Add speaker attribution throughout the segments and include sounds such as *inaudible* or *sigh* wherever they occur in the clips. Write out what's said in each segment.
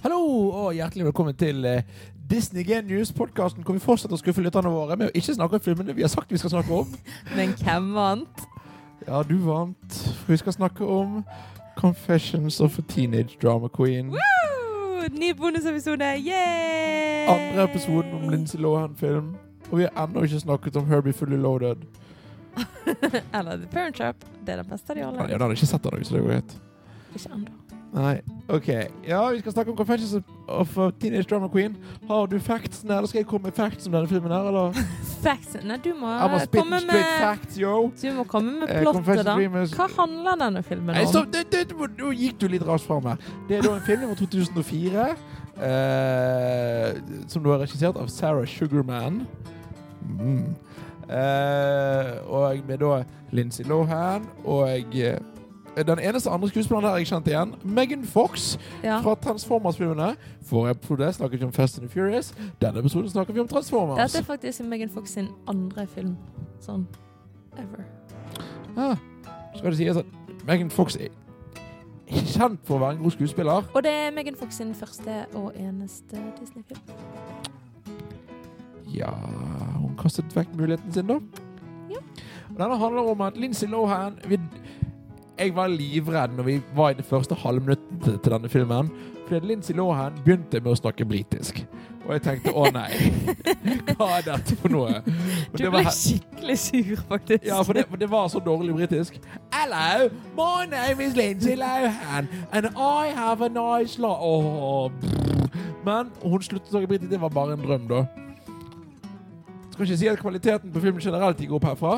Speaker 1: Hallo og hjertelig velkommen til eh, Disney Genius, podkasten hvor vi fortsetter å skuffe lytterne våre med å ikke snakke om filmene vi har sagt vi skal snakke om.
Speaker 2: Men hvem vant?
Speaker 1: Ja, du vant. For vi skal snakke om Confessions of a Teenage Drama Queen.
Speaker 2: Woo! Ny bonusepisode! Yay!
Speaker 1: Andre episoden om Lindsay Lohan-film. Og vi har ennå ikke snakket om Herbie Fully Loaded.
Speaker 2: *laughs* Eller The Parent Trap. Det er den beste av de
Speaker 1: Ja,
Speaker 2: alle.
Speaker 1: jeg hadde ikke sett den, så det går greit.
Speaker 2: Ikke ennå.
Speaker 1: Nei, ok. Ja, vi skal snakke om Confessions of a Teenage Drama Queen. Har du facts? Nei, da skal jeg komme med facts om denne filmen her, eller?
Speaker 2: Facts Nei, du må eh,
Speaker 1: I'm a spit,
Speaker 2: komme
Speaker 1: spit
Speaker 2: med
Speaker 1: facts, yo!
Speaker 2: Du må komme med
Speaker 1: Eh,
Speaker 2: plottet,
Speaker 1: Confessions
Speaker 2: da.
Speaker 1: of Dreamers-
Speaker 2: Hva handler denne filmen
Speaker 1: Nei,
Speaker 2: om?
Speaker 1: stopp, det, det, det, nå gikk du litt raskt fram her. Det er da en film fra 2004 eh, som da er regissert av Sarah Sugarman. Mm. Eh, og med da Lindsay Lohan og eh, den eneste andre skuespilleren der jeg kjente igjen, Megan Fox
Speaker 2: Ja.
Speaker 1: fra Transformers-filmene. Forrige episode snakket vi om Fast and the Furious. Denne episoden snakker vi om Transformers.
Speaker 2: Dette er faktisk Megan Fox sin andre film. Sånn ever.
Speaker 1: Ah, skal det sies at Megan Fox er ikke kjent for å være en god skuespiller.
Speaker 2: Og det er Megan Fox sin første og eneste Disney-film.
Speaker 1: Ja Hun kastet vekk muligheten sin, da.
Speaker 2: Ja.
Speaker 1: Og Denne handler om at Lindsay Lohan vi, Jeg var livredd når vi var i det første halvminuttet til- til denne filmen. Fordi at Lindsay Lohan begynte med å snakke britisk. Og jeg tenkte å nei,
Speaker 2: *laughs*
Speaker 1: hva er dette for noe? Men
Speaker 2: Du
Speaker 1: det var
Speaker 2: ble
Speaker 1: he-
Speaker 2: skikkelig sur, faktisk.
Speaker 1: ja, for det, for det var så dårlig britisk. Hello, my name is Lindsay Lohan, and I have a nice la... Åh, pff. Men hun sluttet å snakke britisk. Det var bare en drøm, da. Skal ikke si at kvaliteten på filmen generelt gikk opp herfra.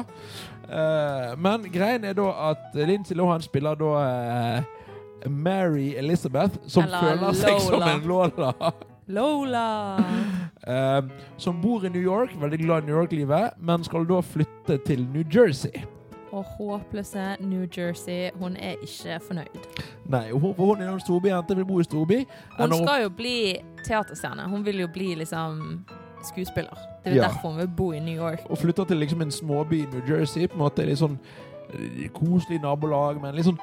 Speaker 1: Eh, men greien er da at Lindsay Lohan spiller da eh, Mary Elizabeth, som
Speaker 2: Eller
Speaker 1: føler seg som
Speaker 2: Lola.
Speaker 1: en Lola.
Speaker 2: Lola!
Speaker 1: Eh, som bor i New York, veldig glad i New York-livet, men skal da flytte til New Jersey.
Speaker 2: Og håpløse New Jersey. Hun er ikke fornøyd.
Speaker 1: Nei, hun, for hun er jo en storby jente, vil bo i storby.
Speaker 2: Hun
Speaker 1: Eller hun-
Speaker 2: skal jo bli teaterstjerne. Hun vil jo bli liksom skuespiller. Det er jo
Speaker 1: Ja.
Speaker 2: derfor hun vil bo i New York.
Speaker 1: Og flytter til liksom en småby i New Jersey. På en måte litt sånn eh, koselig nabolag, men litt sånn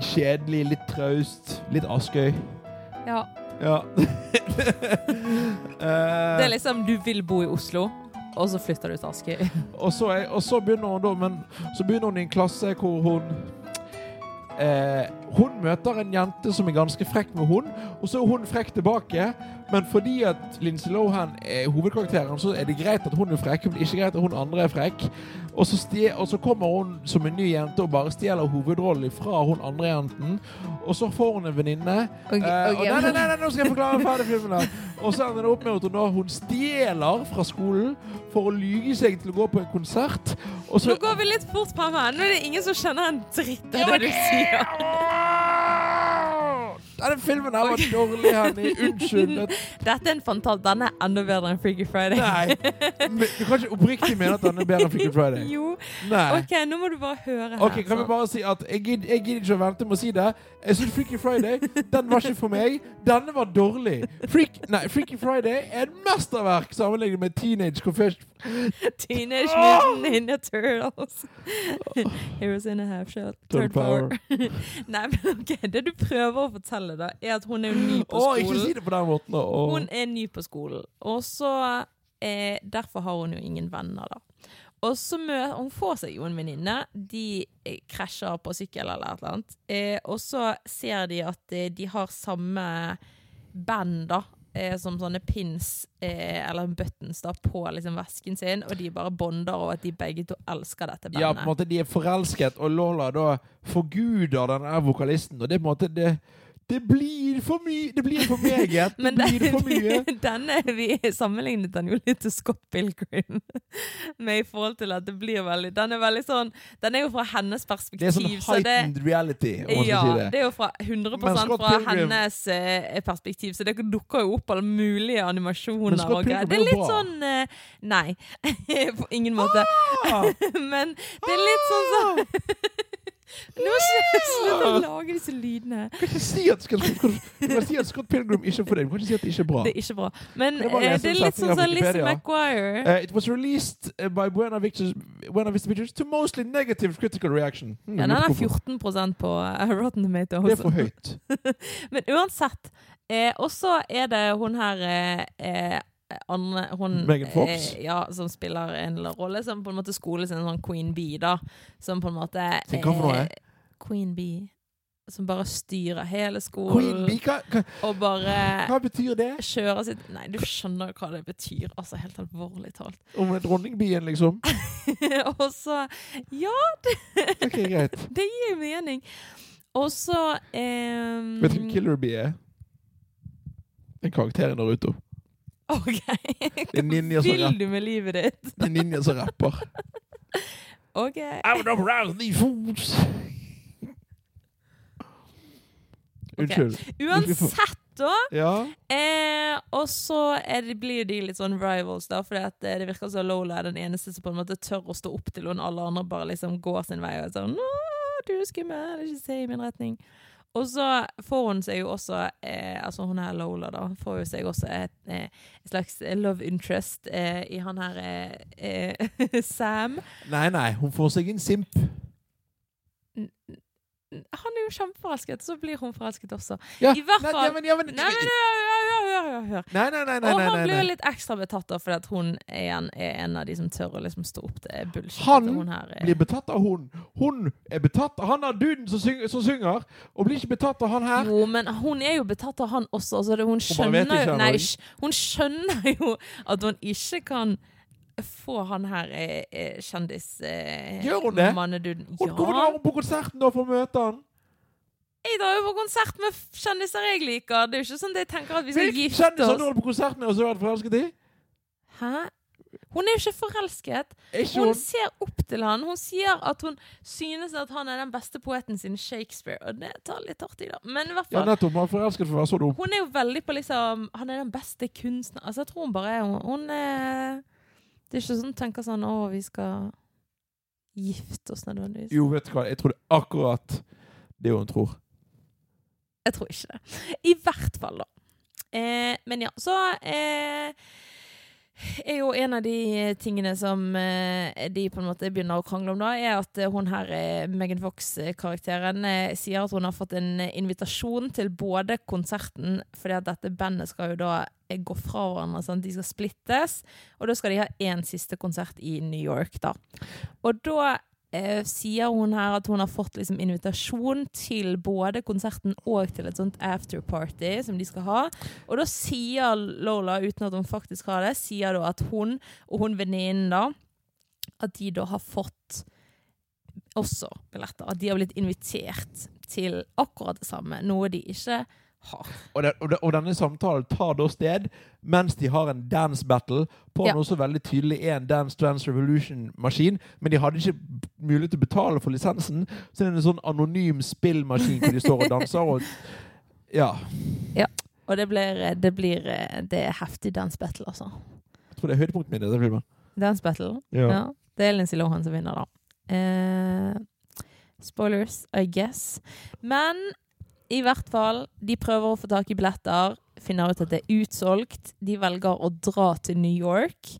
Speaker 1: kjedelig, litt traust, litt Askøy.
Speaker 2: Ja.
Speaker 1: Ja. *laughs* Eh, Eh,
Speaker 2: Det er liksom du vil bo i Oslo, og så flytter du til Askøy.
Speaker 1: og, så er, og så begynner hun da Men så begynner hun i en klasse hvor hun eh, Hun møter en jente som er ganske frekk med hun, og så er hun frekk tilbake. Men fordi at Lindsay Lohan er hovedkarakteren, så er det greit at hun er frekk, men ikke greit at hun andre er frekk. Og så, stje, og så kommer hun som en ny jente og bare stjeler hovedrollen fra hun andre jenten. Og så får hun en venninne.
Speaker 2: *laughs* Ok,
Speaker 1: Eh, og
Speaker 2: ok.
Speaker 1: nei, nei, nei, nei, nå skal jeg forklare ferdig filmen her. Og så ender det opp med at hun, da, hun stjeler fra skolen for å lyge seg til å gå på en konsert. Og så
Speaker 2: Nå går vi litt fort frem her. Nå er det ingen som skjønner en dritt
Speaker 1: Ja,
Speaker 2: av
Speaker 1: men-
Speaker 2: det du sier.
Speaker 1: Denne filmen her var dårlig, Henny.
Speaker 2: *laughs*
Speaker 1: Unnskyld.
Speaker 2: Dette er en fantastisk Den er enda bedre enn Freaky Friday.
Speaker 1: Nei. Men Du kan ikke oppriktig mene at den er bedre enn Freaky Friday.
Speaker 2: *laughs* Jo.
Speaker 1: Nei.
Speaker 2: OK, nå må du bare høre her.
Speaker 1: Ok, Kan vi
Speaker 2: sånn.
Speaker 1: bare si at jeg gidder, jeg gidder ikke å vente med å si det. Jeg synes Freaky Friday den var ikke for meg. Denne var dårlig. Freak, nei, Freaky Friday er et mesterverk sammenlignet med Teenage Confession.
Speaker 2: Teenage Mutant Ninja Turtles. *laughs* Heroes in a half shell.
Speaker 1: Turtle
Speaker 2: Third power.
Speaker 1: power.
Speaker 2: *laughs* Nei, men ok, Det du prøver å fortelle, da, er at hun er jo ny
Speaker 1: Å,
Speaker 2: på
Speaker 1: ikke si
Speaker 2: skolen.
Speaker 1: det på den måten. Å.
Speaker 2: Hun er ny på skolen, og så eh, Derfor har hun jo ingen venner, da. Og så mø Hun får seg jo en venninne. De eh, krasjer på sykkel eller et eller annet. Eh, og så ser de at eh, de har samme band, da. Eh, som sånne pins, eh, eller buttons, da, på liksom vesken sin. Og de bare bonder over at de begge to elsker dette bandet.
Speaker 1: Ja, på en måte de er forelsket, og Lola da forguder denne vokalisten. Og det er på en måte Det, det blir for mye! Det blir for meget! Det
Speaker 2: *laughs* Men den,
Speaker 1: blir for mye!
Speaker 2: *laughs* denne vi sammenlignet den jo litt til Scott Pilgrim. *laughs* Med i forhold til at det blir veldig Den er veldig sånn Den er jo fra hennes
Speaker 1: Det
Speaker 2: perspektiv.
Speaker 1: er sånn
Speaker 2: så det,
Speaker 1: heightened reality, om man
Speaker 2: ja,
Speaker 1: skal si det.
Speaker 2: det er jo fra 100
Speaker 1: Men Scott
Speaker 2: fra
Speaker 1: Pilgrim-
Speaker 2: hennes eh, perspektiv, så det dukker jo opp alle mulige
Speaker 1: Men
Speaker 2: animasjoner
Speaker 1: Scott
Speaker 2: og greier.
Speaker 1: Pilgrim
Speaker 2: Det
Speaker 1: er jo
Speaker 2: er litt
Speaker 1: bra.
Speaker 2: sånn eh, Nei, *laughs* på ingen måte.
Speaker 1: Ah!
Speaker 2: *laughs* Men det er litt sånn sånn Nå
Speaker 1: Ah!
Speaker 2: *laughs* slutt å lage disse lydene.
Speaker 1: Du kan ikke si at Scott, du kan, du kan si at Scott Pilgrim ikke er for deg. Du kan ikke si at det ikke er bra.
Speaker 2: Det er ikke bra. Men
Speaker 1: Det er bare å
Speaker 2: eh,
Speaker 1: lese
Speaker 2: det er
Speaker 1: opp
Speaker 2: litt
Speaker 1: setninger
Speaker 2: sånn
Speaker 1: fra
Speaker 2: som Lizzie
Speaker 1: Wikipedia.
Speaker 2: McGuire.
Speaker 1: Uh, it was released uh, by Buena, Victors, Buena Vista Pictures to mostly negative critical reaction. Hmm,
Speaker 2: Ja,
Speaker 1: jeg
Speaker 2: den
Speaker 1: lurer
Speaker 2: er
Speaker 1: på hvorfor.
Speaker 2: 14 på eh, Rotten Tomatoes.
Speaker 1: Det er for høyt.
Speaker 2: Men uansett, Eh, og så er det hun her eh, eh, Anne, hun,
Speaker 1: Megan Fox?
Speaker 2: Eh, ja, som spiller en l- rolle som på en måte skoles en sånn Queen Bee, da. Som på en måte eh,
Speaker 1: Tenk hva for noe er?
Speaker 2: Queen Bee. Som bare styrer hele
Speaker 1: Queen
Speaker 2: skolen.
Speaker 1: Bee, hva, hva,
Speaker 2: Og bare
Speaker 1: hva betyr det?
Speaker 2: kjører sitt Nei, du skjønner hva det betyr. Altså, helt alvorlig talt. *laughs*
Speaker 1: Om det er dronningbien, liksom?
Speaker 2: og så Ja,
Speaker 1: Ok, greit.
Speaker 2: det gir jo mening. Og så eh,
Speaker 1: Vet du hva Killer Bee er? En karakter i Naruto.
Speaker 2: OK.
Speaker 1: Det er ninja som,
Speaker 2: Vil
Speaker 1: rapp,
Speaker 2: du med livet ditt?
Speaker 1: det er ninja som rapper.
Speaker 2: OK.
Speaker 1: I would have roused these fools. Unnskyld.
Speaker 2: Uansett, da.
Speaker 1: Ja.
Speaker 2: Eh, og så er det, blir jo de litt sånn rivals, da, fordi at eh, det virker som Lola er den eneste som på en måte tør å stå opp til henne. Alle andre bare liksom går sin vei og er sånn Nå, du er skummel, ikke se i min retning. Og så får hun seg jo også, eh, altså hun her Lola, da, får jo seg også et, eh, et slags love interest eh, i han her eh, eh, *laughs* Sam.
Speaker 1: Nei, nei, hun får seg en simp.
Speaker 2: Han er jo kjempeforelsket, så blir hun forelsket også.
Speaker 1: Ja.
Speaker 2: I hvert
Speaker 1: Nei,
Speaker 2: fall-
Speaker 1: ja, men, ja, men,
Speaker 2: Nei, men hør, hør, hør, hør, hør, hør.
Speaker 1: nei, nei, nei, nei,
Speaker 2: og han
Speaker 1: nei,
Speaker 2: blir jo
Speaker 1: nei.
Speaker 2: litt ekstra betatt da, fordi at hun igjen er en av de som tør å liksom stå opp til bullshit.
Speaker 1: Han
Speaker 2: at hun her er-
Speaker 1: Blir betatt av hun. Hun er betatt av han er duden som synger, som synger, og blir ikke betatt av han her.
Speaker 2: jo, men hun er jo betatt av han også. Altså, det- hun,
Speaker 1: bare vet
Speaker 2: skjønner,
Speaker 1: ikke
Speaker 2: jo-
Speaker 1: han,
Speaker 2: nei,
Speaker 1: og-
Speaker 2: sj- hun skjønner jo at hun ikke kan få han her eh, eh, kjendis... Eh,
Speaker 1: Gjør hun det?
Speaker 2: manneduden.
Speaker 1: Hun kommer
Speaker 2: Ja.
Speaker 1: drar hun på konserten da for å møte han.
Speaker 2: Jeg drar jo på konsert med f- kjendiser jeg liker. Det er jo ikke sånn at jeg tenker at vi skal
Speaker 1: Hvilken
Speaker 2: gifte
Speaker 1: kjendis har du
Speaker 2: oss.
Speaker 1: vært på konsert med og så vært forelsket i?
Speaker 2: Hæ? Hun er jo ikke forelsket.
Speaker 1: Er Ikke
Speaker 2: Hun
Speaker 1: hun.
Speaker 2: ser opp til han. Hun sier at hun synes at han er den beste poeten siden Shakespeare. Og det tar litt hardt i, da. Men i hvert
Speaker 1: Ja,
Speaker 2: fall.
Speaker 1: nettopp. Man er forelsket for å være så dum.
Speaker 2: Hun er jo veldig på liksom Han er den beste kunstner Altså, jeg tror hun bare er hun, hun er Det er ikke sånn hun tenker sånn Å, vi skal gifte oss nødvendigvis.
Speaker 1: Jo, vet du hva, jeg tror det er akkurat det hun tror.
Speaker 2: Jeg tror ikke det. I hvert fall, da. Eh, men ja, så eh, er jo en av de tingene som eh, de på en måte begynner å krangle om, da, er at eh, hun her, eh, Megan Fox-karakteren, eh, sier at hun har fått en eh, invitasjon til både konserten, fordi at dette bandet skal jo da eh, gå fra hverandre, sant? de skal splittes, og da skal de ha én siste konsert i New York, da. Og da eh, sier hun her at hun har fått liksom, invitasjon til både konserten og til et sånt afterparty som de skal ha. Og da sier Lola, uten at hun faktisk har det, sier da at hun og hun venninnen da, at de da har fått også billetter. At de har blitt invitert til akkurat det samme, noe de ikke har.
Speaker 1: Og, den, og, den, og denne samtalen tar da sted mens de har en dance battle på
Speaker 2: Ja.
Speaker 1: noe som veldig tydelig er en Dance Dance Revolution-maskin, men de hadde ikke b- mulighet til å betale for lisensen, så det er en sånn anonym spillmaskin hvor de står og danser og Ja.
Speaker 2: Og det blir, det blir eh, det er heftig dance battle, altså.
Speaker 1: Jeg tror det er høydepunktet mitt i denne filmen.
Speaker 2: Dance battle. Ja. Det er Lindsay Lohan som vinner, da. Eh, spoilers, I guess. Men i hvert fall, de prøver å få tak i billetter, finner ut at det er utsolgt. De velger å dra til New York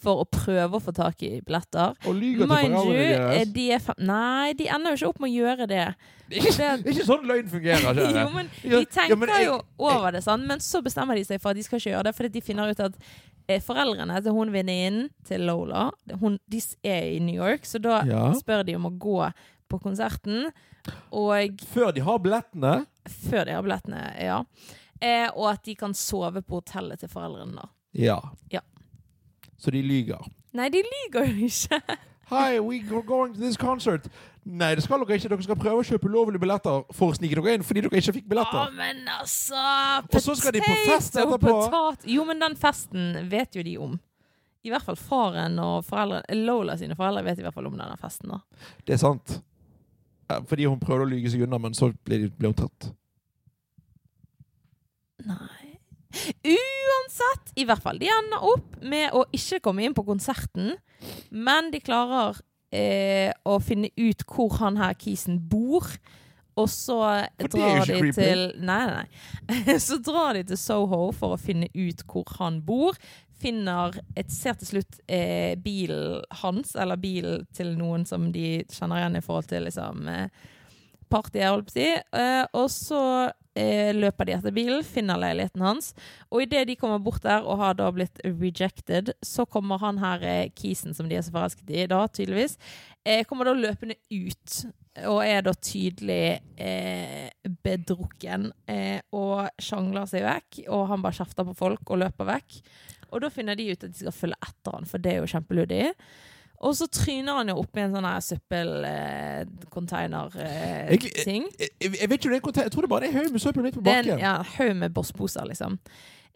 Speaker 2: for å prøve å få tak i billetter.
Speaker 1: Og lyger til
Speaker 2: Mind you,
Speaker 1: foreldrene
Speaker 2: eh,
Speaker 1: deres.
Speaker 2: de er fem... Nei, de ender jo ikke opp med å gjøre det.
Speaker 1: Ikke, ikke sånn løgn fungerer, kjære.
Speaker 2: Jo, men
Speaker 1: Ja,
Speaker 2: de tenker
Speaker 1: ja, men jeg-
Speaker 2: jo over det, sant? men så bestemmer de seg for at de skal ikke gjøre det, fordi de finner ut at eh, foreldrene til hun venninnen til Lola, hun, de s- er i New York, så da
Speaker 1: Ja.
Speaker 2: spør de om å gå på konserten, og
Speaker 1: Før de har billettene
Speaker 2: før de har billettene, ja, eh, og at de kan sove på hotellet til foreldrene da.
Speaker 1: Ja.
Speaker 2: Ja.
Speaker 1: Så de lyger.
Speaker 2: Nei, de lyger jo ikke.
Speaker 1: Hi, we're going to this concert. Nei, det skal dere ikke. Dere skal prøve å kjøpe ulovlige billetter for å snike dere inn fordi dere ikke fikk
Speaker 2: Ja,
Speaker 1: billetter.
Speaker 2: men altså
Speaker 1: Og så skal de på fest
Speaker 2: potato,
Speaker 1: etterpå.
Speaker 2: potat- Jo, men den festen vet jo de om. I hvert fall faren og foreldre, Lola sine foreldre vet i hvert fall om denne festen. da.
Speaker 1: Det er sant. Ja, Fordi hun prøvde å lyge seg unna, men så ble, de- ble hun tatt.
Speaker 2: Nei Uansett, i hvert fall. De ender opp med å ikke komme inn på konserten, men de klarer eh, å finne ut hvor han her kisen bor. Og så
Speaker 1: For det er jo
Speaker 2: drar de
Speaker 1: ikke creepy.
Speaker 2: til Nei, nei, nei. *laughs* Så drar de til Soho for å finne ut hvor han bor. Finner et, Ser til slutt eh, bilen hans, eller bilen til noen som de kjenner igjen i forhold til liksom, eh, partiet, holdt på å si. Eh, og så eh, løper de etter bilen, finner leiligheten hans. Og idet de kommer bort der og har da blitt rejected, så kommer han her, eh, Kisen, som de er så forelsket i da, tydeligvis, eh, kommer da løpende ut. Og er da tydelig eh, bedrukken eh, og sjangler seg vekk. Og han bare kjefter på folk og løper vekk. Og da finner de ut at de skal følge etter han, for det er jo kjempeludig. Og så tryner han jo oppi en sånn her eh,
Speaker 1: Egentlig- eh,
Speaker 2: søppelcontainer-ting.
Speaker 1: Jeg, jeg, jeg vet ikke om det er en konteiner. Jeg tror det bare er en haug med søppel midt på
Speaker 2: Det er en
Speaker 1: bakken.
Speaker 2: ja, en haug med bossposer, liksom.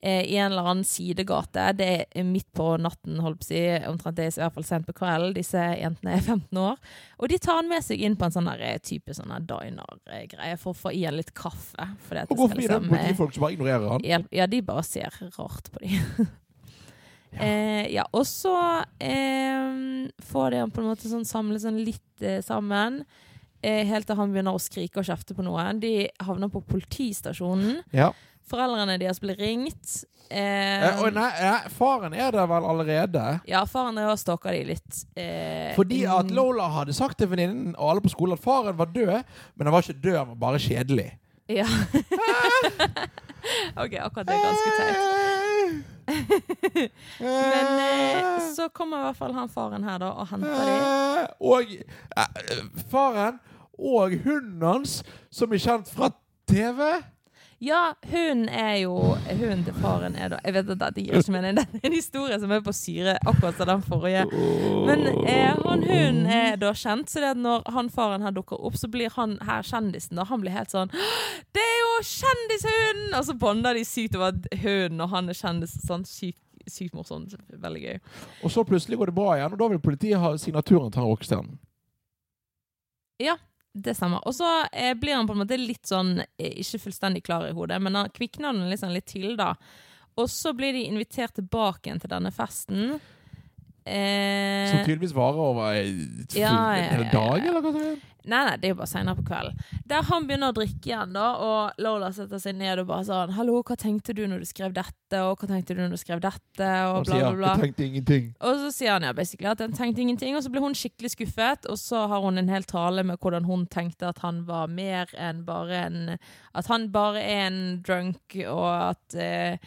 Speaker 2: Eh, I en eller annen sidegate. Det er midt på natten, holdt på å si. Omtrent det er i hvert fall sent på kvelden. Disse jentene er 15 år. Og de tar han med seg inn på en sånn der, eh, type sånn her diner-greie for å få i han litt kaffe. Fordi at
Speaker 1: Og
Speaker 2: det
Speaker 1: går
Speaker 2: skal
Speaker 1: forbi den
Speaker 2: liksom, eh,
Speaker 1: politifolk som bare ignorerer han.
Speaker 2: hjelp. Ja, de bare ser rart på dem. *laughs* ja. Eh, ja, og så eh, får de han på en måte sånn samlet sånn litt eh, sammen. Eh, helt til han begynner å skrike og kjefte på noen. De havner på politistasjonen.
Speaker 1: Ja.
Speaker 2: Foreldrene deres blir ringt. Eh,
Speaker 1: Eh, og nei, nei, faren er der vel allerede.
Speaker 2: ja, faren drev og stalka de litt. Eh,
Speaker 1: Fordi at
Speaker 2: inn-
Speaker 1: Lola hadde sagt til venninnen og alle på skolen at faren var død, men han var ikke død, han var bare kjedelig.
Speaker 2: Ja. *laughs* OK, akkurat det er ganske teit. *laughs* Men eh, så kommer i hvert fall han faren her da og henter de.
Speaker 1: Eh, Og eh, faren og hunden hans, som er kjent fra TV.
Speaker 2: Ja, hun er jo Hun til faren er da Jeg vet at dette gir ikke mening. *laughs* Det er en historie som er på syre, akkurat som den forrige. Men eh, han hunden er da kjent, så det at når han faren her dukker opp, så blir han her kjendisen. Og han blir helt sånn Det er jo kjendishunden! Og så bonder de sykt over at hunden og han er kjendis. Sånn sykt sykt morsomt. Veldig gøy.
Speaker 1: Og så plutselig går det bra igjen, og da vil politiet ha signaturen til han rockestjernen.
Speaker 2: Det stemmer. Og så eh, blir han på en måte litt sånn eh, ikke fullstendig klar i hodet, men han kvikner den liksom litt til, da. Og så blir de invitert tilbake igjen til denne festen.
Speaker 1: Som
Speaker 2: Eh,
Speaker 1: tydeligvis varer over en
Speaker 2: Ja, ja, ja,
Speaker 1: hel
Speaker 2: ja.
Speaker 1: dag, eller hva det er.
Speaker 2: nei, nei, det er jo bare seinere på kvelden. Der han begynner å drikke igjen, da, og Lola setter seg ned og bare sånn 'Hallo, hva tenkte du når du skrev dette?' og 'Hva tenkte du når du skrev dette?' og
Speaker 1: Han
Speaker 2: bla,
Speaker 1: sier
Speaker 2: bla, bla.
Speaker 1: 'jeg tenkte ingenting'.
Speaker 2: Og så sier han ja, basically at han tenkte ingenting, og så ble hun skikkelig skuffet. Og så har hun en hel tale med hvordan hun tenkte at han var mer enn bare en At han bare er en drunk, og at eh,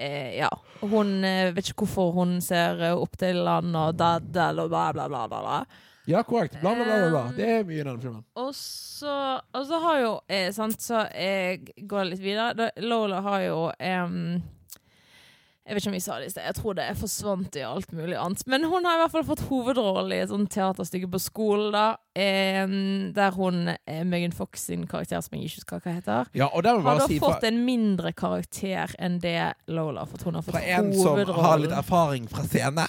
Speaker 2: eh, Ja. Hun eh, vet ikke hvorfor hun ser eh, opp til han og daddel og bla, bla, bla, bla. bla.
Speaker 1: Ja, korrekt. Bla, bla, bla. bla, bla.
Speaker 2: Um,
Speaker 1: Det er mye i denne filmen.
Speaker 2: Og så, og så har jo eh, sant, Så eh, går jeg litt videre. Da, Lola har jo em, Jeg vet ikke om vi sa det i sted, jeg tror det forsvant i alt mulig annet. Men hun har i hvert fall fått hovedrolle i et sånt teaterstykke på skolen, da. em, der hun eh, Megan Fox sin karakter, som jeg ikke husker hva heter,
Speaker 1: Ja, og der må vi
Speaker 2: har
Speaker 1: bare
Speaker 2: da
Speaker 1: si fra,
Speaker 2: fått en mindre karakter enn det Lola har fått. Hun har fått
Speaker 1: fra en som har litt
Speaker 2: hovedrollen.
Speaker 1: erfaring fra scene.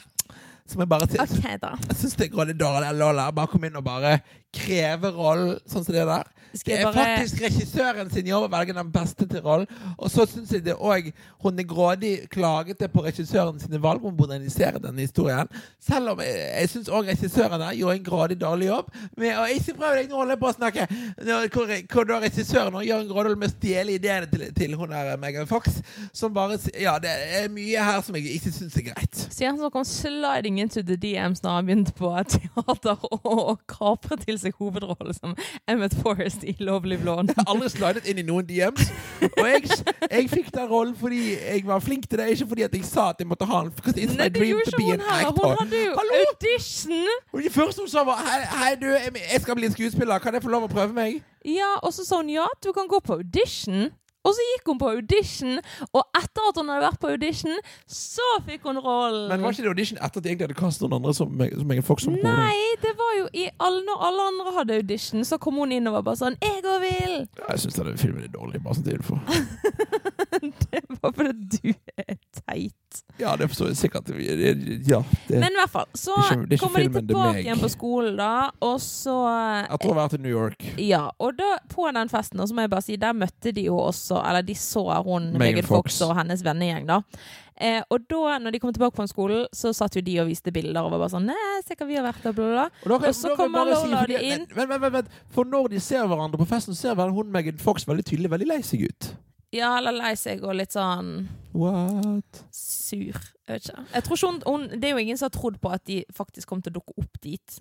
Speaker 1: Som jeg bare syns,
Speaker 2: OK, da.
Speaker 1: jeg syns det går litt dårlig. Lola. Bare kom inn og bare kreve rollen, sånn som det der.
Speaker 2: Skal
Speaker 1: Det
Speaker 2: jeg
Speaker 1: er
Speaker 2: bare
Speaker 1: faktisk regissøren sin jobb å velge den beste til rollen. Og så syns jeg det òg hun er grådig klagete på regissøren sine valg om å modernisere denne historien. Selv om jeg, jeg syns òg regissøren der gjorde en grådig dårlig jobb. Med, og ikke prøv deg, nå holder jeg på å snakke! Nå- Hvor, hvor da regissøren nå gjør en grådig jobb med å stjele ideene til, til hun der eh, Megan Fox, som bare s- Ja, det er mye her som jeg ikke syns er greit.
Speaker 2: Sier han som kom sliding into the DMs når han begynte på teater og, og kapret til seg hovedrollen som Emmet Forrest i Lovely Blonde.
Speaker 1: Jeg har aldri slidet inn i noen DMs. Og jeg, jeg fikk den rollen fordi jeg var flink til det, ikke fordi at jeg sa at jeg måtte ha den. Because it's
Speaker 2: Nei,
Speaker 1: my
Speaker 2: det
Speaker 1: dream
Speaker 2: gjorde
Speaker 1: to be
Speaker 2: ikke hun
Speaker 1: an
Speaker 2: heller.
Speaker 1: actor.
Speaker 2: Hun hadde jo
Speaker 1: Hallo!
Speaker 2: audition!
Speaker 1: Og det første hun sa, var hei, hei, du, jeg skal bli en skuespiller. Kan jeg få lov å prøve meg?
Speaker 2: Ja, og så sa hun ja, du kan gå på audition. Og så gikk hun på audition, og etter at hun hadde vært på audition, så fikk hun rollen.
Speaker 1: Men var ikke det audition etter at jeg egentlig hadde kastet noen andre som, meg- som Megan Fox som hovedrolle?
Speaker 2: Nei, det var jo i alle, når alle andre hadde audition, så kom hun inn og var bare sånn 'Jeg òg vil!'
Speaker 1: *laughs* Jeg syns denne filmen er dårlig. Bare sånn til for.
Speaker 2: Det var fordi du er teit.
Speaker 1: Ja, det forstår jeg sikkert. Ja, det.
Speaker 2: Men i hvert fall, så
Speaker 1: Det er ikke- det er ikke
Speaker 2: kommer de
Speaker 1: filmen, det er
Speaker 2: tilbake
Speaker 1: meg.
Speaker 2: igjen på skolen, da, og så
Speaker 1: jeg tror jeg har vært i New York.
Speaker 2: ja, og da på den festen, og så må jeg bare si, der møtte de jo også Eller de så hun,
Speaker 1: Megan
Speaker 2: Megan Fox.
Speaker 1: Fox.
Speaker 2: og hennes vennegjeng, da. Eh, og da, når de kom tilbake på den skolen, så satt jo de og viste bilder og var bare sånn Nei, se hva vi har vært og bla, bla, bla.
Speaker 1: Og, da kan-
Speaker 2: Og så
Speaker 1: da kan jeg
Speaker 2: kommer
Speaker 1: bare si,
Speaker 2: Lola
Speaker 1: fordi-
Speaker 2: de inn.
Speaker 1: Vent, vent, vent, vent. For når de ser hverandre på festen, ser vel hun Megan Fox veldig tydelig veldig lei seg ut.
Speaker 2: Ja, eller lei seg og litt sånn
Speaker 1: What?
Speaker 2: sur. Jeg vet ikke. Jeg tror ikke hun, hun, det er jo ingen som har trodd på at de faktisk kom til å dukke opp dit.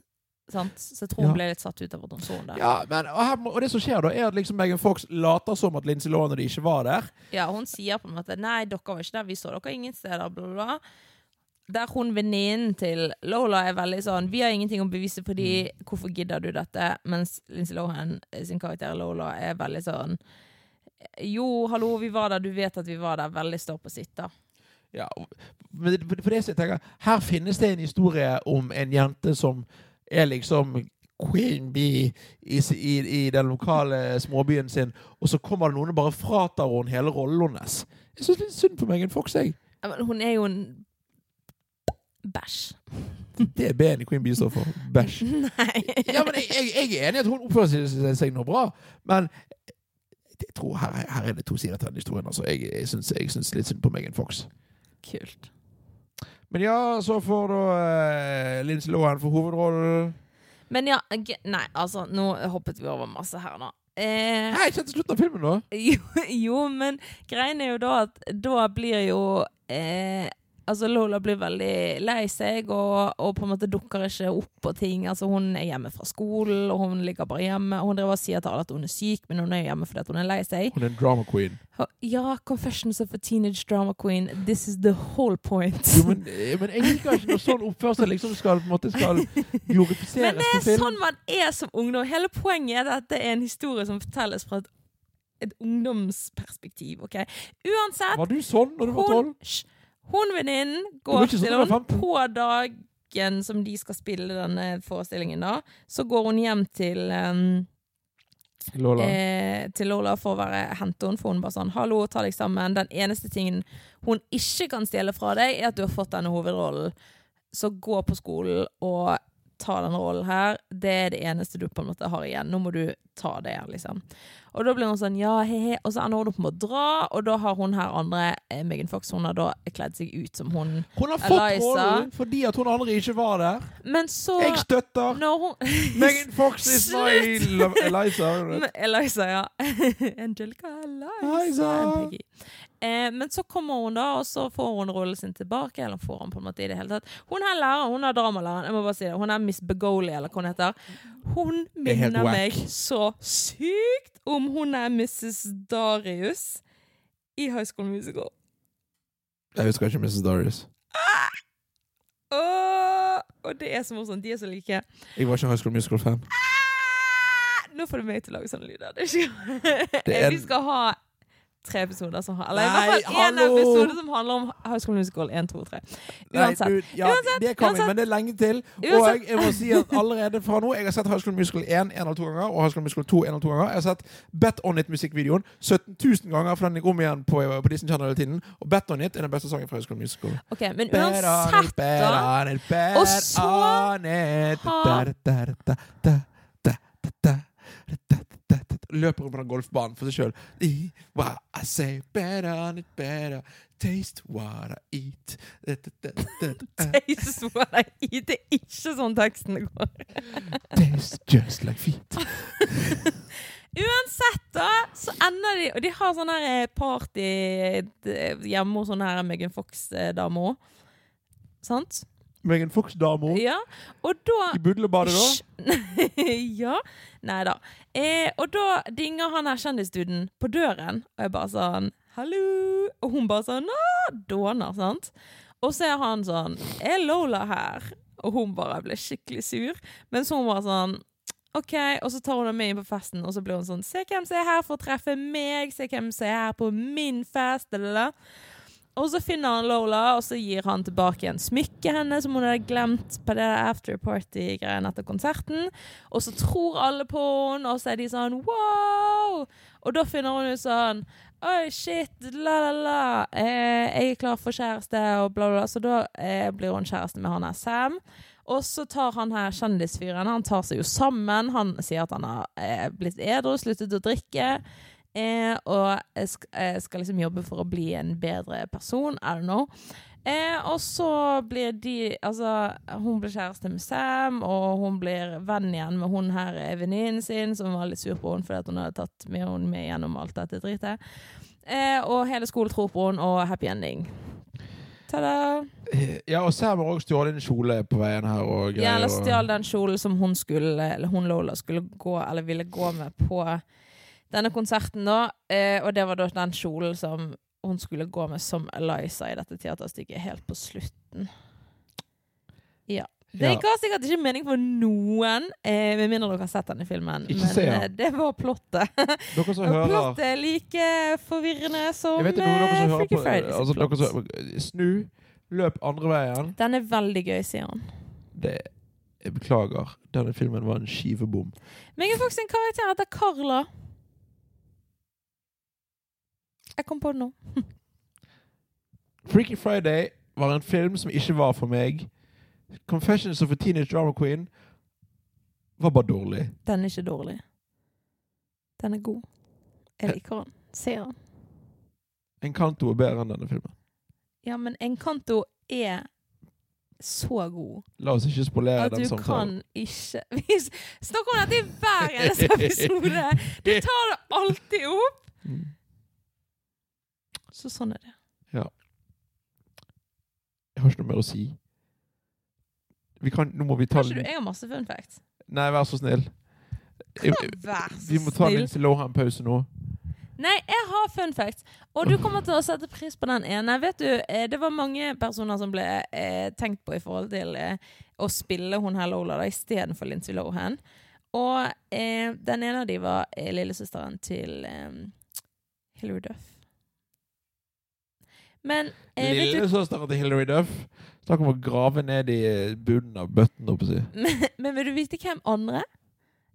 Speaker 2: sant? Så jeg tror hun
Speaker 1: Ja.
Speaker 2: ble litt satt ut av at hun så henne der.
Speaker 1: Ja, men, og, her, må- og det som skjer da, er at liksom Megan Fox later som at Lindsay Lohan og de ikke var der.
Speaker 2: Ja, hun sier på en måte Nei, dere var ikke der, vi så dere ingen steder, bla, bla, bla. Der hun venninnen til Lola er veldig sånn Vi har ingenting å bevise for de, hvorfor gidder du dette? Mens Lindsay Lohan eh, sin karakter Lola er veldig sånn "Eh, Jo, hallo, vi var der, du vet at vi var der. Veldig står på sitt, da.
Speaker 1: Ja, og- men det- for det som jeg tenker, her finnes det en historie om en jente som er liksom queen bee i, s- i, i den lokale småbyen sin, og så kommer det noen og bare fratar henne hele rollen hennes. Jeg syns litt synd på Megan Fox, jeg.
Speaker 2: Ja, Men hun er jo en bæsj.
Speaker 1: Det er B-en i Queen Bee står for. Bæsj.
Speaker 2: *laughs* Nei.
Speaker 1: Ja, men jeg, jeg, jeg er enig i at hun oppfører seg- seg, seg noe bra, men jeg tror her, her er det to sider til denne historien. Altså. Jeg, jeg, syns, jeg syns litt synd på Megan Fox.
Speaker 2: Kult.
Speaker 1: Men ja, så får da eh, Lindsay Lohan for hovedrollen.
Speaker 2: Men ja, g- nei, altså, nå hoppet vi over masse her nå. Eh,
Speaker 1: Nei, ikke til slutten av filmen, da.
Speaker 2: Jo, jo, men greien er jo da at da blir jo eh, Altså Lola blir veldig lei seg og, og på en måte dukker ikke opp på ting. Altså Hun er hjemme fra skolen, og hun ligger bare hjemme. Hun driver og sier til alle at hun er syk, men hun er jo hjemme fordi at hun er lei seg.
Speaker 1: Hun er en drama queen.
Speaker 2: Ja, 'Confessions of a Teenage Drama Queen'. This is the whole point.
Speaker 1: Jo, men, eh, men jeg liker ikke når sånn oppførsel liksom skal, på en måte, skal glorifiseres
Speaker 2: Men det
Speaker 1: på
Speaker 2: er
Speaker 1: film.
Speaker 2: sånn man er som ungdom. Hele poenget er at det er en historie som fortelles fra et, et ungdomsperspektiv. ok? Uansett
Speaker 1: Var du sånn når du var
Speaker 2: Hun,
Speaker 1: tolv?
Speaker 2: Hysj. hun venninnen
Speaker 1: var
Speaker 2: går
Speaker 1: ikke sånn
Speaker 2: til
Speaker 1: da du var
Speaker 2: ham
Speaker 1: femten.
Speaker 2: på dagen som de skal spille denne forestillingen, da. Så går hun hjem til ehm, em,
Speaker 1: Lola.
Speaker 2: eh, til Lola for å være hente henne, for hun bare sånn 'Hallo, ta deg sammen'. Den eneste tingen hun ikke kan stjele fra deg, er at du har fått denne hovedrollen. Så gå på skolen og ta den rollen her. Det er det eneste du på en måte har igjen. Nå må du ta det, liksom. Og da blir hun sånn 'ja, he-he', og så ender hun opp med å dra, og da har hun her andre, eh, Megan Fox, hun har da kledd seg ut som hun
Speaker 1: Hun har fått
Speaker 2: Eliza.
Speaker 1: rollen fordi at hun andre ikke var der.
Speaker 2: Men så
Speaker 1: Jeg støtter.
Speaker 2: når hun
Speaker 1: Megan Fox is my love- Eliza.
Speaker 2: Men Eliza, ja. *laughs* Angelica Eliza.
Speaker 1: Eliza.
Speaker 2: and Peggy. Eh, men så kommer hun, da, og så får hun rollen sin tilbake. Eller får Hun på en måte i det hele tatt Hun her læreren, hun er dramalæreren. Jeg må bare si det Hun er Miss Begoli, eller hva hun heter. Hun
Speaker 1: er helt
Speaker 2: minner
Speaker 1: whack.
Speaker 2: meg så sykt om hun er Mrs. Darius i High School Musical.
Speaker 1: Jeg husker ikke Mrs. Darius.
Speaker 2: Åh, og det er så morsomt. De er så like.
Speaker 1: Jeg var ikke High School Musical-fan.
Speaker 2: Ah! Nå får du meg til å lage sånne lyder. Det er ikke
Speaker 1: Det er en-
Speaker 2: Vi skal ha tre episoder som har Eller i
Speaker 1: Nei,
Speaker 2: hvert fall én
Speaker 1: hallo!
Speaker 2: episode som handler om High School Musical 1, 2, 3. *laughs* Uansett.
Speaker 1: Nei, du, ja, det kan vi,
Speaker 2: uansett.
Speaker 1: men det er lenge til. Og jeg,
Speaker 2: *laughs* Uansett.
Speaker 1: jeg må si at allerede fra nå Jeg har sett High School Musical 1 en eller to ganger, og High School Musical 2 en eller to ganger. Jeg har sett Bet On It-musikkvideoen 17 000 ganger, for den gikk om igjen på, på Disney Channel hele tiden. Og Bet On It er den beste sangen fra High School Musical.
Speaker 2: Ok, men
Speaker 1: Bet on it,
Speaker 2: uansett,
Speaker 1: bet
Speaker 2: da.
Speaker 1: on it, bet
Speaker 2: Og så
Speaker 1: on it. Da,
Speaker 2: har-
Speaker 1: da, da, da, da, da, da, da, da, da, da. Løper rundt på den golfbanen for seg sjøl. Wow, I say bet on it, better Taste what I eat. Da, da, da, da, da.
Speaker 2: *laughs* Jesus, what I eat. Det er ikke sånn teksten går.
Speaker 1: Taste just like feet.
Speaker 2: Uansett, da, så ender de Og de har sånn her eh, party eh, hjemme hos sånn her Megan Fox-dame òg. Sant?
Speaker 1: Megan Fox-dama
Speaker 2: Ja. Og da
Speaker 1: i budlebadet, da.
Speaker 2: Hysj. *laughs* ja. Nei da. Eh, og da dinger han her kjendisduden på døren, og jeg bare sånn Hallo! Og hun bare sånn «Å», Dåner, sant? Og så er han sånn Er Lola her? Og hun bare ble skikkelig sur. Mens hun var sånn OK, og så tar hun ham med inn på festen, og så blir hun sånn Se hvem som er her for å treffe meg, se hvem som er her på min fest, eller Og så finner han Lola, og så gir han tilbake igjen smykket hennes som hun hadde glemt på det afterparty-greien etter konserten. Og så tror alle på henne, og så er de sånn wow! Og da finner hun ut sånn Oi, shit, la, la, la. Eh, jeg er klar for kjæreste, og bla, bla, bla. Så da eh, blir hun kjæreste med han her Sam. Og så tar han her kjendisfyren Han tar seg jo sammen. Han sier at han har eh, blitt edru, sluttet å drikke. Eh, og eh, sk eh, skal liksom jobbe for å bli en bedre person. I don't know. Eh, og så blir de Altså, hun blir kjæreste med Sam, og hun blir venn igjen med hun her eh, venninnen sin, som var litt sur på henne fordi at hun hadde tatt med henne med gjennom alt dette dritet. Eh, og hele skolen tror på henne, og happy ending. Ta-da!
Speaker 1: Eh, Ja, og Sam har også stjålet en kjole på veien her. Og greier,
Speaker 2: Ja, eller
Speaker 1: og-
Speaker 2: stjal den kjolen som hun skulle Eller hun Lola skulle gå Eller ville gå med på denne konserten da eh, Og det var da den kjolen som hun skulle gå med som Eliza i dette teaterstykket Helt på slutten Ja
Speaker 1: Ja.
Speaker 2: det ga sikkert ikke mening for noen, eh, med mindre dere har sett denne filmen.
Speaker 1: Ikke
Speaker 2: Men
Speaker 1: se den.
Speaker 2: eh, det var plottet.
Speaker 1: Dere som
Speaker 2: Og
Speaker 1: hører
Speaker 2: plottet er like forvirrende
Speaker 1: Jeg
Speaker 2: som
Speaker 1: vet ikke om dere som
Speaker 2: eh,
Speaker 1: hører
Speaker 2: Freaky
Speaker 1: på
Speaker 2: Fridays
Speaker 1: altså,
Speaker 2: plott.
Speaker 1: dere som, Snu, løp andre veien.
Speaker 2: Den er veldig gøy, sier han.
Speaker 1: Det, jeg beklager. Denne filmen var en skivebom.
Speaker 2: Men jeg er faktisk en karakter heter Carla. Jeg kom på det nå.
Speaker 1: Freaky Friday var en film som ikke var for meg. Confessions of a Teenage Drama Queen var bare dårlig.
Speaker 2: Den er ikke dårlig. Den er god. Jeg liker den. Ser den.
Speaker 1: Encanto er bedre enn denne filmen.
Speaker 2: Ja, men Encanto er så god
Speaker 1: La oss ikke spolere
Speaker 2: at
Speaker 1: den
Speaker 2: du
Speaker 1: samtalen.
Speaker 2: kan ikke *laughs* Vi snakker om dette i hver
Speaker 1: *laughs*
Speaker 2: eneste episode! Du tar det alltid opp!
Speaker 1: Mm.
Speaker 2: Så sånn er det.
Speaker 1: Jeg har ikke noe mer å si. Vi kan, nå må vi ta
Speaker 2: Har ikke du
Speaker 1: den-
Speaker 2: Jeg har masse fun facts.
Speaker 1: Nei, vær så snill. Jeg- jeg-
Speaker 2: Vær så
Speaker 1: Vi må ta
Speaker 2: snill.
Speaker 1: Lindsay Lohan-pause nå.
Speaker 2: Nei, jeg har fun facts. Og du kommer til å sette pris på den ene. Vet du, eh, Det var mange personer som ble eh, tenkt på i forhold til eh, å spille hun her Lola da, istedenfor Lindsay Lohan. Og eh, den ene av de var eh, lillesøsteren til eh, Hilary Duff. Men eh, vet du,
Speaker 1: Lillesøsteren til Hilary Duff. Snakk om å grave ned i eh, bunnen av bøtten, holdt jeg på å si.
Speaker 2: men, men vil du vite hvem andre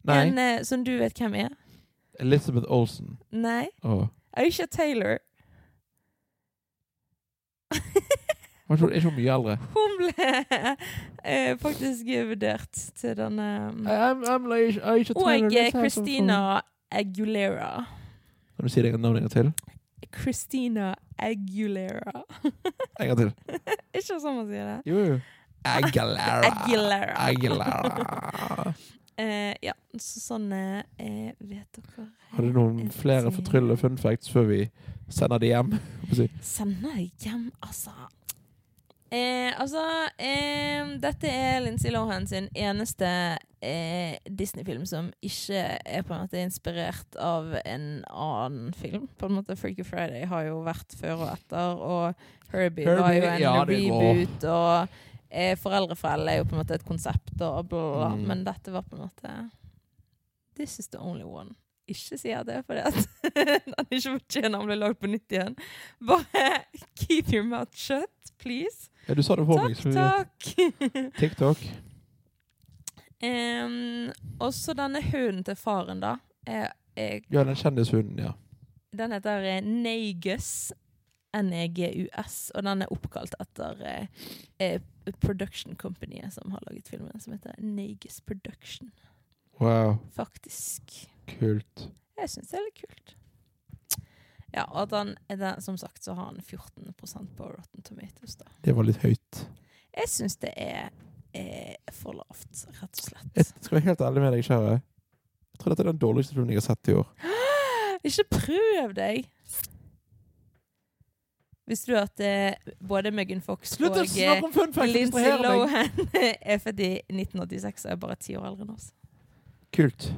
Speaker 1: Nei,
Speaker 2: enn eh, som du vet hvem er?
Speaker 1: Elizabeth Olsen.
Speaker 2: Nei.
Speaker 1: Åh.
Speaker 2: Aisha Taylor.
Speaker 1: Hun er ikke- ikke hun mye eldre.
Speaker 2: Hun ble *laughs* eh, faktisk vurdert til denne
Speaker 1: I'm, I'm Aisha, Aisha Taylor,
Speaker 2: Og
Speaker 1: det
Speaker 2: eh,
Speaker 1: er sånn som-
Speaker 2: Christina Aguilera.
Speaker 1: Kan du si det navnet en gang til?
Speaker 2: Christina Aguilera.
Speaker 1: En gang til.
Speaker 2: *laughs* Ikke sånn man sier det.
Speaker 1: Jo, jo. Aguilera.
Speaker 2: Aguilera.
Speaker 1: Aguilera.
Speaker 2: Eh, ja, så sånn eh, eh, vet dere
Speaker 1: Har du noen flere fortryllende fun facts før vi sender de hjem? Holdt på å si.
Speaker 2: Sender jeg hjem, altså. Eh, altså eh, Dette er Lindsay Lohan sin eneste eh, Disney-film som ikke er på en måte inspirert av en annen film. På en måte Freaky Friday har jo vært før og etter, og Herbie, var
Speaker 1: Herbie,
Speaker 2: jo en
Speaker 1: ja, det er bra.
Speaker 2: reboot. Og eh, Foreldreforeldre er jo på en måte et konsept, og bla, bla, bla.
Speaker 1: Mm.
Speaker 2: Men dette var på en måte This is the only one. Ikke si at det er fordi at *laughs* den ikke fortjener å bli lagd på nytt igjen. Bare keep your mouth shut, please.
Speaker 1: Ja, du sa det for meg. så vi-
Speaker 2: Takk. *laughs*
Speaker 1: TikTok.
Speaker 2: Em, også denne hunden til faren, da. Eh, eh,
Speaker 1: Ja, den kjendishunden, ja.
Speaker 2: den heter eh, Negus. E N-E-G-U-S. Og den er oppkalt etter eh, eh, production companyet som har laget filmen, som heter Negus Production.
Speaker 1: Wow,
Speaker 2: Faktisk.
Speaker 1: kult.
Speaker 2: Jeg syns det er litt kult. Ja, og at han, er den- som sagt så har han 14 på Rotten Tomatoes, da.
Speaker 1: Det var litt høyt.
Speaker 2: Jeg syns det er eh, for lavt, rett og
Speaker 1: Jeg
Speaker 2: slett.
Speaker 1: skal være helt ærlig med deg, kjære. Jeg tror dette er den dårligste filmen jeg har sett i år.
Speaker 2: *gasps* Ikke prøv deg! Visste du at eh, både Megan Fox
Speaker 1: Slutt å
Speaker 2: og eh,
Speaker 1: snakke om fun facts!
Speaker 2: Lindsay
Speaker 1: distraherer meg.
Speaker 2: Lohan *laughs* er født i 1986 og er bare ti år eldre enn oss?
Speaker 1: Kult.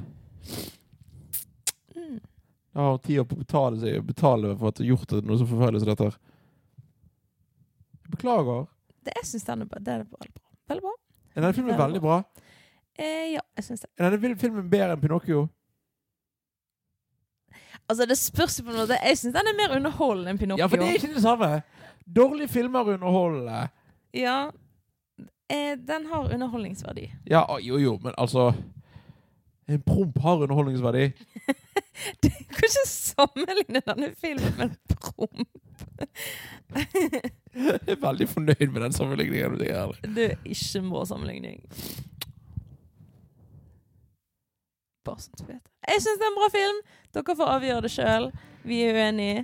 Speaker 2: Mm.
Speaker 1: Da har hun tid å betale, seg, betale for at du har gjort det noe så forferdelig som dette. her. Jeg beklager.
Speaker 2: Det, jeg syns den er bra. Den er veldig bra. Veldig bra.
Speaker 1: Er denne filmen veldig bra?
Speaker 2: Eh, ja, jeg syns det.
Speaker 1: Er denne vil- filmen bedre enn Pinocchio?
Speaker 2: Altså, det spørs jo på en måte. Jeg syns den er mer underholdende enn Pinocchio.
Speaker 1: Ja, for det er ikke det samme. Dårlige filmer underholder.
Speaker 2: Ja. Eh, den har underholdningsverdi.
Speaker 1: Ja, å, jo jo, men altså En promp har underholdningsverdi. *laughs*
Speaker 2: Du kan ikke sammenligne denne filmen med en prom.
Speaker 1: Jeg er veldig fornøyd med den sammenligningen. om jeg er ærlig.
Speaker 2: Det er ikke en bra sammenligning. Bare sånn at du vet. det. Jeg syns det er en bra film. Dere får avgjøre det sjøl. Vi er uenige.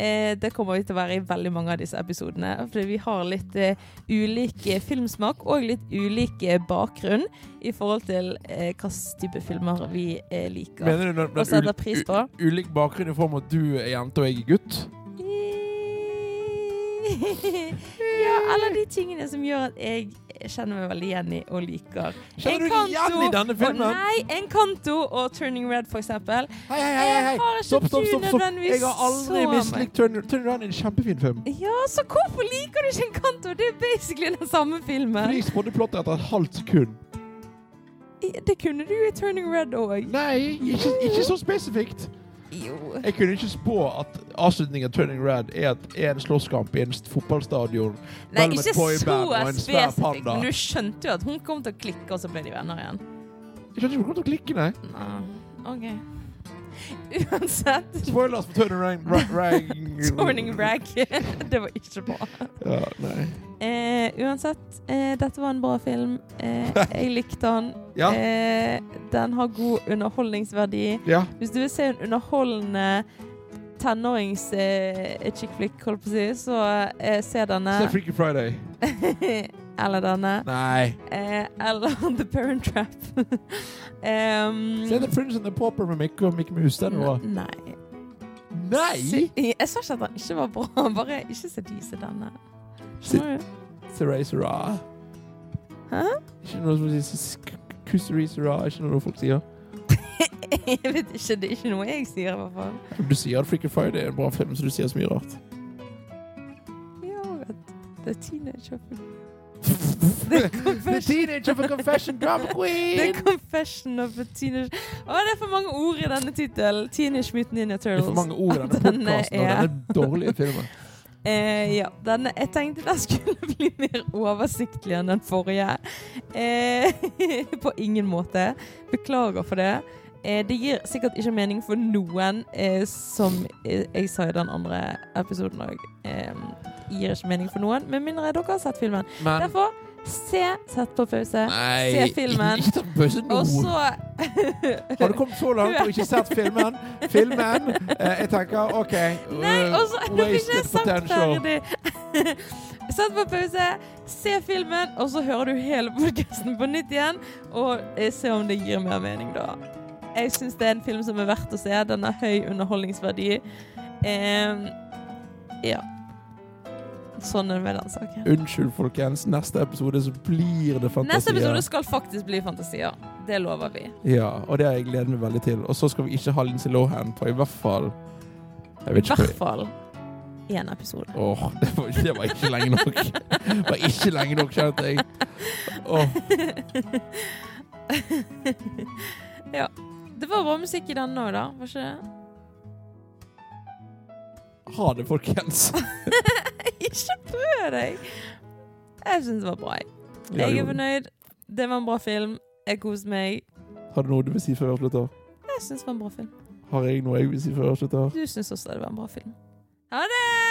Speaker 2: Eh, det kommer vi til å være i veldig mange av disse episodene. Fordi vi har litt eh, ulik eh, filmsmak og litt ulik eh, bakgrunn i forhold til eh, hva slags type filmer vi eh, liker.
Speaker 1: Mener du når, når
Speaker 2: Og setter
Speaker 1: ul- u-
Speaker 2: pris på. *laughs*
Speaker 1: ulik bakgrunn i form av at du er jente og jeg er gutt?
Speaker 2: I- ja, alle de tingene som gjør at jeg kjenner meg veldig igjen i og liker.
Speaker 1: Kjenner du deg igjen i denne filmen?
Speaker 2: Og, nei, Encanto og Turning Red, for eksempel.
Speaker 1: Hei, hei, hei, hei, hei.
Speaker 2: Jeg har ikke
Speaker 1: Stopp, stopp,
Speaker 2: du
Speaker 1: stopp, stopp.
Speaker 2: nødvendigvis
Speaker 1: Jeg har aldri
Speaker 2: så meg.
Speaker 1: mislikt Turn, Turn Around. En kjempefin film.
Speaker 2: Ja, så hvorfor liker du ikke Encanto? Det er basically den samme filmen.
Speaker 1: Fordi jeg spådde plottet etter et halvt sekund.
Speaker 2: Det kunne du i Turning Red òg.
Speaker 1: Nei, ikke, ikke så spesifikt.
Speaker 2: Jo.
Speaker 1: Jeg kunne ikke spå at avslutningen av Turning Red er at en slåsskamp i en st- fotballstadion
Speaker 2: Nei,
Speaker 1: mellom
Speaker 2: ikke
Speaker 1: et
Speaker 2: så
Speaker 1: boyband og en svær
Speaker 2: spesifikt,
Speaker 1: panda.
Speaker 2: men du skjønte jo at hun kom til å klikke, og så ble de venner igjen.
Speaker 1: Jeg skjønner ikke hvordan du klikker, nei.
Speaker 2: OK. Uansett.
Speaker 1: Spoilers for Turning Red.
Speaker 2: *laughs*
Speaker 1: Ra- Ra-
Speaker 2: Turning rag. *laughs* det var ikke bra.
Speaker 1: Ja, nei.
Speaker 2: Eh, uansett, eh, dette var en bra film. Eh, jeg likte den.
Speaker 1: Ja,
Speaker 2: Eh, den har god underholdningsverdi.
Speaker 1: ja.
Speaker 2: Hvis du vil se en underholdende tenårings eh, chick flick, holdt på å si, så eh, se denne.
Speaker 1: Se Freaky Friday.
Speaker 2: *laughs* eller denne.
Speaker 1: Nei.
Speaker 2: Eh, eller *laughs* The Parent Trap. *laughs* Em,
Speaker 1: Se The Prince and the Pauper med Mikke og Mikke Mus. Den var
Speaker 2: Nei.
Speaker 1: Nei!
Speaker 2: Mm. Se- Jeg sa ikke at den ikke var bra, *laughs* bare ikke se de som denne.
Speaker 1: Se-
Speaker 2: Skjønner du? *laughs*
Speaker 1: Sarai Sara.
Speaker 2: Hæ?
Speaker 1: Ikke noe som sies Kusari Sara. Ikke noe folk sier.
Speaker 2: Jeg vet ikke, det er ikke noe jeg sier i hvert fall.
Speaker 1: Du sier at Freaky Friday er en bra film, så du sier så mye rart.
Speaker 2: Ja, vet du. Det er teenager.
Speaker 1: The teenager of a confession drama
Speaker 2: The
Speaker 1: queen!
Speaker 2: Confession of a Teenage Å, det er for mange ord i denne tittelen. Teenage Mutant Ninja
Speaker 1: Det
Speaker 2: Turtles.
Speaker 1: er for mange ord i denne
Speaker 2: At
Speaker 1: podkasten og
Speaker 2: er-
Speaker 1: denne dårlige filmen.
Speaker 2: Eh, ja, denne, jeg tenkte den skulle bli mer oversiktlig enn den forrige. Eh, *laughs* på ingen måte. Beklager for det. Eh, det gir sikkert ikke mening for noen, eh, som eh, jeg sa i den andre episoden òg. Eh, gir ikke mening for noen, med mindre dere har sett filmen.
Speaker 1: Men
Speaker 2: Derfor, se Sett på pause,
Speaker 1: Nei,
Speaker 2: se filmen,
Speaker 1: ikke ta pause nå!
Speaker 2: og så
Speaker 1: Har du kommet så langt og ikke sett filmen?
Speaker 2: *laughs*
Speaker 1: Filmen eh, Jeg tenker OK
Speaker 2: Nei,
Speaker 1: eh,
Speaker 2: og så *laughs* Nå fikk
Speaker 1: wasted
Speaker 2: ikke jeg sagt
Speaker 1: potential.
Speaker 2: ferdig. *laughs* Sett på pause, se filmen, og så hører du hele podkasten på nytt igjen. Og eh, se om det gir mer mening, da. Jeg syns det er en film som er verdt å se. Den har høy underholdningsverdi. Em, ja. Sånn er det med den saken.
Speaker 1: Unnskyld, folkens. Neste episode så blir det fantasier.
Speaker 2: Neste episode skal faktisk bli fantasier. Det lover vi.
Speaker 1: Ja, og det har jeg gledet meg veldig til. Og så skal vi ikke ha Lindsay Lohan på i hvert fall Jeg
Speaker 2: I
Speaker 1: vet ikke
Speaker 2: hvert fall én episode.
Speaker 1: på Åh, det, var, det var ikke lenge nok. Det var ikke lenge nok, kjente jeg. Åh,
Speaker 2: *laughs* ja. Det var bra musikk i denne òg, da. Var ikke det?
Speaker 1: ha det, folkens.
Speaker 2: *laughs* Ikke prøv deg! Jeg syns det var bra. jeg.
Speaker 1: Ja,
Speaker 2: Jeg
Speaker 1: jo.
Speaker 2: er fornøyd. Det var en bra film. Jeg koste meg.
Speaker 1: Har du noe du vil si før vi avslutter?
Speaker 2: Jeg syns det var en bra film.
Speaker 1: Har jeg noe jeg vil si før vi avslutter?
Speaker 2: Du syns også det var en bra film. Ha det!